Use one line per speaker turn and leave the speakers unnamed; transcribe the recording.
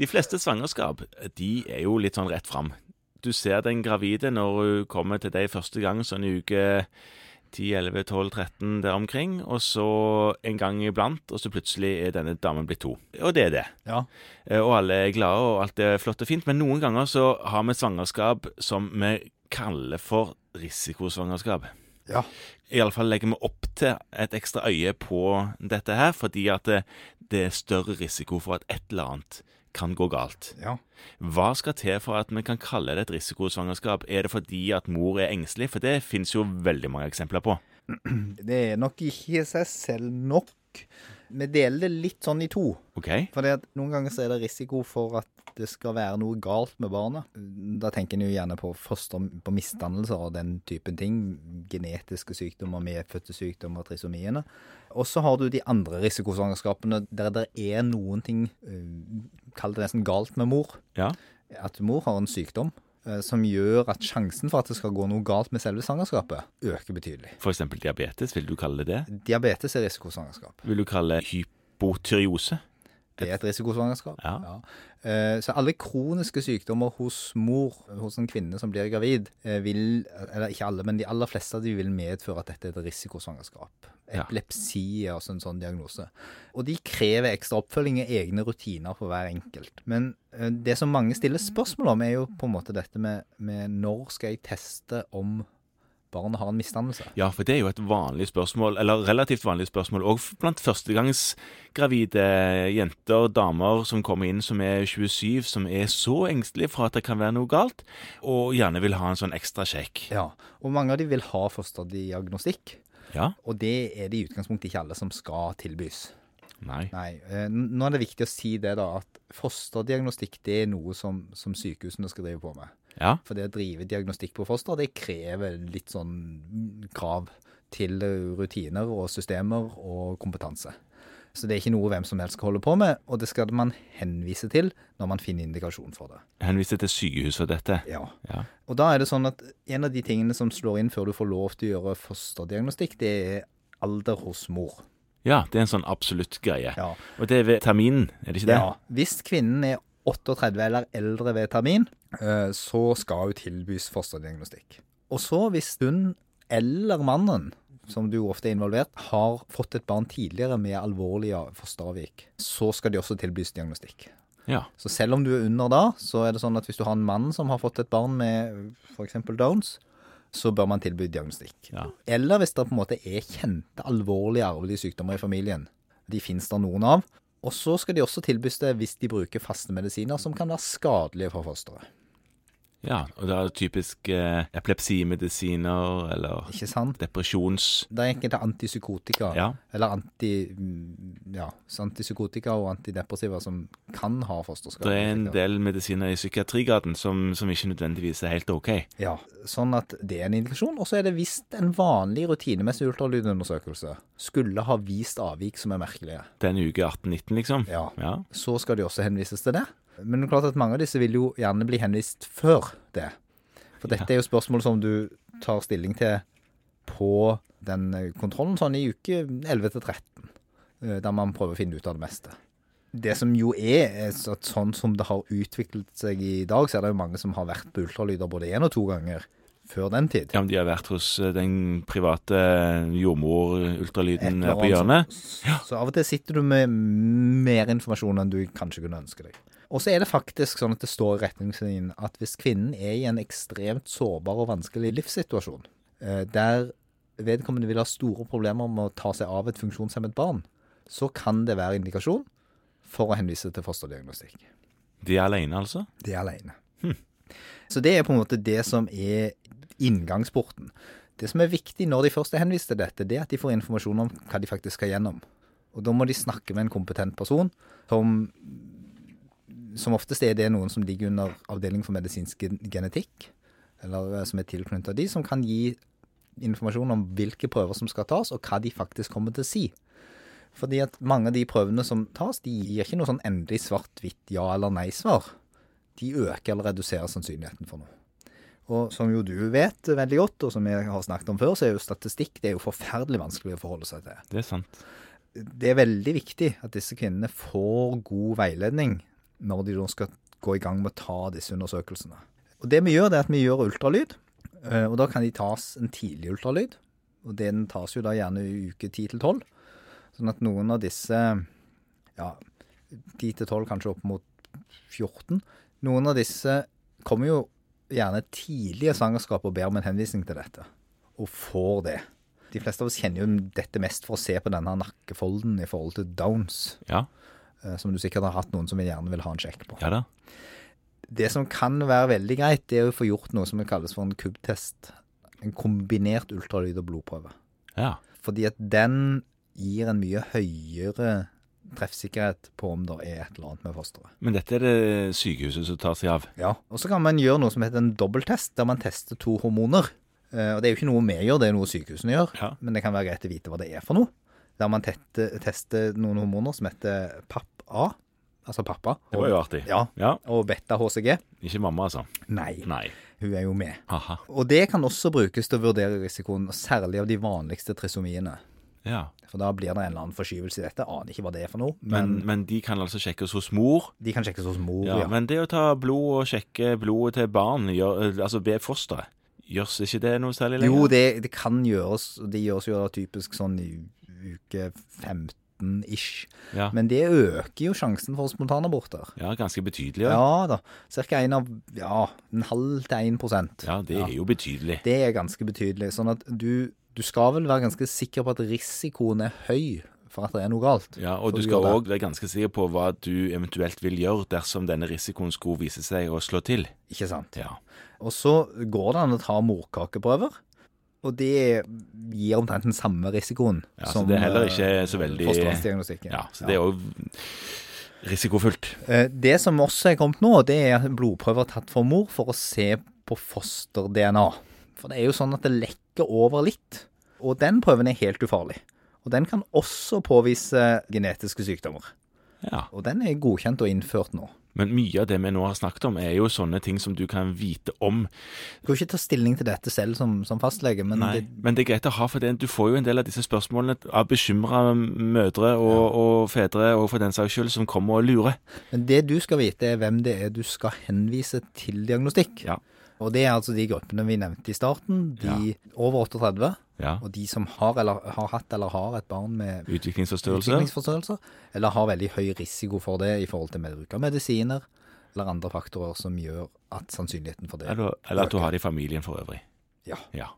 De fleste svangerskap de er jo litt sånn rett fram. Du ser den gravide når hun kommer til deg første gang, sånn i uke 10, 11, 12, 13 der omkring. Og så en gang iblant, og så plutselig er denne damen blitt to. Og det er det.
Ja.
Eh, Og alle er glade, og alt er flott og fint. Men noen ganger så har vi svangerskap som vi kaller for risikosvangerskap.
Ja.
Iallfall legger vi opp til et ekstra øye på dette her, fordi at eh, det, det er større risiko for at et eller annet kan gå galt.
ja.
Hva skal til for at vi kan kalle det et risikosvangerskap? Er det fordi at mor er engstelig? For det finnes jo veldig mange eksempler på.
Det er nok ikke seg selv nok. Vi deler det litt sånn i to.
OK?
For noen ganger så er det risiko for at det skal være noe galt med barnet. Da tenker en jo gjerne på foster, på misdannelser og den typen ting. Genetiske sykdommer, medfødte sykdommer, trisomiene. Og så har du de andre risikosvangerskapene der det er noen ting, eh, kall det nesten galt med mor
Ja.
at mor har en sykdom eh, som gjør at sjansen for at det skal gå noe galt med selve svangerskapet, øker betydelig.
For eksempel diabetes, vil du kalle det det?
Diabetes er risikosvangerskap.
Vil du kalle hypotyreose?
Det er et risikosvangerskap.
Ja.
Eh, Så alle kroniske sykdommer hos mor, hos en kvinne som blir gravid, eh, vil Eller ikke alle, men de aller fleste av de vil medføre at dette er et risikosvangerskap.
Ja.
Epilepsi er også en sånn diagnose. Og de krever ekstra oppfølging og egne rutiner for hver enkelt. Men eh, det som mange stiller spørsmål om, er jo på en måte dette med, med når skal jeg teste om barnet har en misdannelse?
Ja, for det er jo et vanlig spørsmål, eller relativt vanlig spørsmål, òg blant førstegangsgravide jenter, damer som kommer inn som er 27, som er så engstelige for at det kan være noe galt, og gjerne vil ha en sånn ekstra sjekk.
Ja. Og mange av de vil ha fosterdiagnostikk.
Ja?
Og det er det i utgangspunktet ikke alle som skal tilbys.
Nei.
Nei. eh, n- Nå er det viktig å si det, da, at fosterdiagnostikk det er noe som, som sykehusene skal drive på med.
Ja?
For det å drive diagnostikk på foster, det krever litt sånn mm, krav til eh, rutiner og systemer og kompetanse. Så det er ikke noe hvem som helst skal holde på med, og det skal man henvise til når man finner indikasjon for det.
Henviste til sykehus for dette.
Ja.
Ja.
Og da er det sånn at en av de tingene som slår inn før du får lov til å gjøre fosterdiagnostikk, det er alder hos mor.
ja, det er en sånn absolutt greie.
Ja.
Og det er ved terminen, er det ikke det?
Ja. Hvis kvinnen er 38 eller eldre ved termin, eh, så skal hun tilbys fosterdiagnostikk. Og så hvis hun eller mannen, som du ofte er involvert, har fått et barn tidligere med alvorlige fosteravvik, så skal de også tilbys diagnostikk.
Ja.
Så selv om du er under da, så er det sånn at hvis du har en mann som har fått et barn med f.eks. Downs, så bør man tilby diagnostikk.
Ja.
Eller hvis det på en måte er kjente alvorlige arvelige sykdommer i familien. De finnes det noen av. Og så skal de også tilbys det hvis de bruker faste medisiner som kan være skadelige for fosteret.
ja. Og det er typisk eh, epilepsimedisiner eller
Ikke sant?
depresjons...
Det er enkelte antipsykotika,
Ja.
eller anti, mm, ja, så antipsykotika og antidepressiva som kan ha fosterskader.
Det er en del medisiner i psykiatrigaten som, som ikke nødvendigvis er helt ok.
Ja, sånn at det er en indikasjon. Og så er det hvis en vanlig rutinemessig ultralydundersøkelse skulle ha vist avvik som er merkelige,
Den uke 18-19, liksom?
ja,
Ja.
så skal de også henvises til det. Men det er klart at mange av disse vil jo gjerne bli henvist før det. For dette er jo spørsmål som du tar stilling til på den kontrollen sånn i uke 11 til 13, eh, der man prøver å finne ut av det meste. Det som jo er, er så- at sånn som det har utviklet seg i dag, så er det jo mange som har vært på ultralyder både én og to ganger før den tid.
ja, om de har vært hos eh, den private jordmor-ultralyden
eller
her på
annet
hjørnet.
sånt. Så av og til sitter du med mer informasjon enn du kanskje kunne ønske deg. Og så er det faktisk sånn at det står i retningslinjen at hvis kvinnen er i en ekstremt sårbar og vanskelig livssituasjon, eh, der vedkommende vil ha store problemer med å ta seg av et funksjonshemmet barn, så kan det være indikasjon for å henvise til fosterdiagnostikk.
De er alene, altså?
Det er alene. Så det er på en måte det som er inngangsporten. Det som er viktig når de først er henvist til dette, det er at de får informasjon om hva de faktisk skal gjennom. Og da må de snakke med en kompetent person, som som oftest er det noen som ligger under avdeling for medisinsk gen- genetikk, eller eh, som er tilknyttet de, som kan gi informasjon om hvilke prøver som skal tas, og hva de faktisk kommer til å si. Fordi at mange av de prøvene som tas, de gir ikke noe sånn endelig svart-hvitt ja- eller nei-svar de øker eller reduserer sannsynligheten for noe. Og som jo du vet veldig godt, og som jeg har snakket om før, så er jo statistikk det er jo forferdelig vanskelig å forholde seg til.
Det er sant.
Det er veldig viktig at disse kvinnene får god veiledning når de da skal gå i gang med å ta disse undersøkelsene. Og det vi gjør, det er at vi gjør ultralyd, eh, og da kan de tas en tidlig ultralyd. Og den tas jo da gjerne i uke 10 til 12. Sånn at noen av disse, ja, 10 til 12, kanskje opp mot 14, noen av disse kommer jo gjerne tidlig i svangerskapet og ber om en henvisning til dette, og får det. De fleste av oss kjenner jo dette mest for å se på denne nakkefolden i forhold til Downs,
Ja,
eh, som du sikkert har hatt noen som gjerne vil ha en sjekk på.
ja da.
Det som kan være veldig greit, det er å få gjort noe som kalles for en kubbtest. En kombinert ultralyd og blodprøve.
Ja.
Fordi at den gir en mye høyere treffsikkerhet på om det er et eller annet med fosteret.
Men dette er det sykehuset som tar seg av.
Ja. Og så kan man gjøre noe som heter en dobbelttest, der man tester to hormoner. Eh, Og det er jo ikke noe vi gjør, det er noe sykehusene gjør.
Ja.
Men det kan være greit å vite hva det er for noe. Der man tette, tester noen hormoner som heter PAP-A, altså pappa,
Det var jo artig.
ja,
Ja,
og beta-HCG.
ikke mamma, altså.
Nei,
Nei.
hun er jo med.
Haha.
Og det kan også brukes til å vurdere risikoen, og særlig av de vanligste trisomiene.
Ja.
For da blir det en eller annen forskyvelse i dette. Aner ikke hva det er for noe, men,
Men, men de kan altså sjekkes hos mor.
de kan sjekkes hos mor.
Ja,
Ja,
Men det å ta blod og sjekke blodet til barn, gjør, altså be fosteret, gjørs ikke det noe særlig lenger?
Jo, det, det kan gjøres, og det gjøres jo da typisk sånn i uke 15-ish.
Ja.
Men det øker jo sjansen for spontanaborter.
ja, ganske betydelig.
Ja.
Ja.
da. Cirka en av ja, en halv til 1 prosent.
ja, det er jo betydelig.
Det er ganske betydelig. Sånn at du, du skal vel være ganske sikker på at risikoen er høy for at det er noe galt.
Ja, Og
For
du
å
skal
gjøre det.
òg være ganske sikker på hva du eventuelt vil gjøre dersom denne risikoen skulle vise seg å slå til.
Ikke sant?
Ja.
Og så går det an å ta morkakeprøver. Og det gir omtrent den samme risikoen
Ja,
eh,
så det er heller ikke så veldig-
Fostervannsdiagnostikken.
ja så det er òg risikofullt.
Eh, Det som også er kommet nå, det er blodprøver tatt fra mor for å se på foster-DNA. For det er jo sånn at det lekker over litt. Og den prøven er helt ufarlig. Og den kan også påvise genetiske sykdommer.
Ja.
Og den er godkjent og innført nå.
Men mye av det vi nå har snakket om, er jo sånne ting som du kan vite om.
Du kan ikke ta stilling til dette selv som, som fastlege, men
Nei.
det,
Men det er greit å ha, for det, du får jo en del av disse spørsmålene av bekymra mødre og, og fedre, og for den saks skyld, som kommer og lurer.
Men det du skal vite, er hvem det er du skal henvise til diagnostikk.
Ja.
Og det er altså de gruppene vi nevnte i starten. De over 38,
Ja.
og de som har, eller, har hatt eller har et barn med
Utviklingsforstyrrelse.
utviklingsforstyrrelser, eller har veldig høy risiko for det i forhold til bruk av medisiner eller andre faktorer som gjør at sannsynligheten for det
Eller, eller at du har det i familien for øvrig.
Ja.
Ja.